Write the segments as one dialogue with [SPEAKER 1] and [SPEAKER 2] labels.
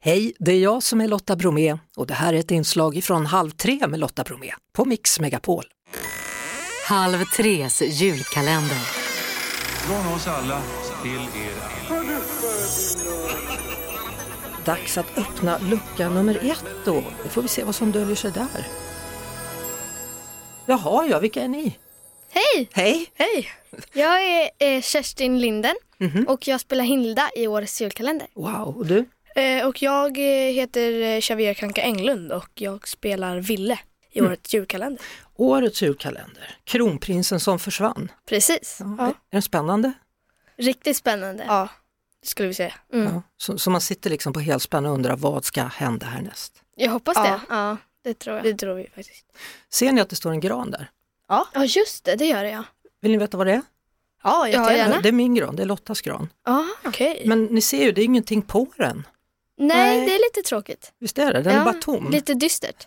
[SPEAKER 1] Hej, det är jag som är Lotta Bromé och det här är ett inslag från Halv tre med Lotta Bromé på Mix Megapol.
[SPEAKER 2] Halv tres julkalender.
[SPEAKER 3] Från oss alla till er.
[SPEAKER 1] Dags att öppna lucka nummer ett då. Då får vi se vad som döljer sig där. Jaha, ja, vilka är ni?
[SPEAKER 4] Hej!
[SPEAKER 1] Hej!
[SPEAKER 4] Hej! Jag är eh, Kerstin Linden och jag spelar Hilda i årets julkalender.
[SPEAKER 1] Wow, och du?
[SPEAKER 5] Eh, och jag eh, heter eh, Xavier Kanka Englund och jag spelar Ville i årets julkalender.
[SPEAKER 1] Årets julkalender, Kronprinsen som försvann.
[SPEAKER 4] Precis.
[SPEAKER 1] Ja. Är den spännande?
[SPEAKER 4] Mm. Riktigt spännande.
[SPEAKER 5] Ja, det skulle vi säga.
[SPEAKER 1] Ja. Så, så man sitter liksom på helspänn och undrar vad ska hända härnäst?
[SPEAKER 4] Jag hoppas
[SPEAKER 5] Ja.
[SPEAKER 4] det. Ja, det tror jag.
[SPEAKER 5] Det tror vi faktiskt.
[SPEAKER 1] Ser ni att det står en gran där?
[SPEAKER 4] Ja, just det, det gör jag.
[SPEAKER 1] Vill ni veta vad det är?
[SPEAKER 5] Ja,
[SPEAKER 4] Ja,
[SPEAKER 5] jättegärna.
[SPEAKER 4] gärna.
[SPEAKER 1] Det är min gran, det är Lottas gran.
[SPEAKER 4] Ja.
[SPEAKER 5] Okej.
[SPEAKER 1] Men ni ser ju, det är ingenting på den.
[SPEAKER 4] Nej,
[SPEAKER 5] Nej.
[SPEAKER 4] det är lite tråkigt.
[SPEAKER 1] Visst är det? Den
[SPEAKER 4] ja,
[SPEAKER 1] är bara tom.
[SPEAKER 4] Lite dystert.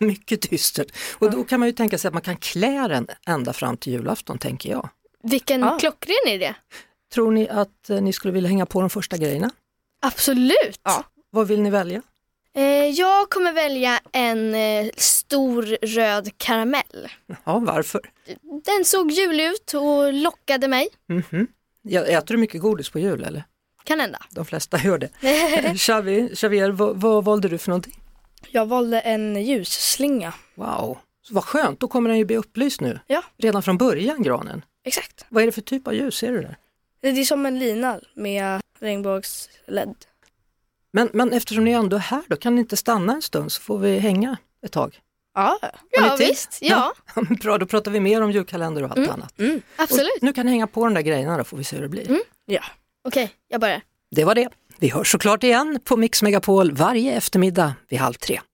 [SPEAKER 1] Mycket dystert. Och då kan man ju tänka sig att man kan klä den ända fram till julafton, tänker jag.
[SPEAKER 4] Vilken
[SPEAKER 5] Ja.
[SPEAKER 4] klockren idé.
[SPEAKER 1] Tror ni att eh, ni skulle vilja hänga på de första grejerna?
[SPEAKER 4] Absolut.
[SPEAKER 5] Ja.
[SPEAKER 1] Vad vill ni välja?
[SPEAKER 4] Eh, jag kommer välja en eh, stor röd karamell.
[SPEAKER 1] Ja, varför?
[SPEAKER 4] Den såg julig ut och lockade mig.
[SPEAKER 1] Mhm. Jag äter du mycket godis på jul eller?
[SPEAKER 4] Kan hända.
[SPEAKER 1] De flesta gör det. Eh, Xavi- Xavier, vad, vad valde du för någonting?
[SPEAKER 5] Jag valde en ljusslinga.
[SPEAKER 1] Wow, Så vad skönt, då kommer den ju bli upplyst nu.
[SPEAKER 5] Ja.
[SPEAKER 1] Redan från början, granen.
[SPEAKER 5] Exakt.
[SPEAKER 1] Vad är det för typ av ljus, ser du det?
[SPEAKER 5] Det är som en lina med regnbågsled.
[SPEAKER 1] Men, men eftersom ni ändå är här då, kan ni inte stanna en stund så får vi hänga ett tag?
[SPEAKER 5] Ja,
[SPEAKER 1] Har
[SPEAKER 4] Ja,
[SPEAKER 1] ni tid?
[SPEAKER 4] visst. Ja,
[SPEAKER 1] Bra, då pratar vi mer om julkalender och allt
[SPEAKER 4] Mm.
[SPEAKER 1] annat.
[SPEAKER 4] absolut.
[SPEAKER 1] Nu kan ni hänga på de där grejerna då får vi se hur det blir.
[SPEAKER 5] ja.
[SPEAKER 4] Okej, jag börjar.
[SPEAKER 1] Det var det. Vi hörs såklart igen på Mix Megapol varje eftermiddag vid halv tre.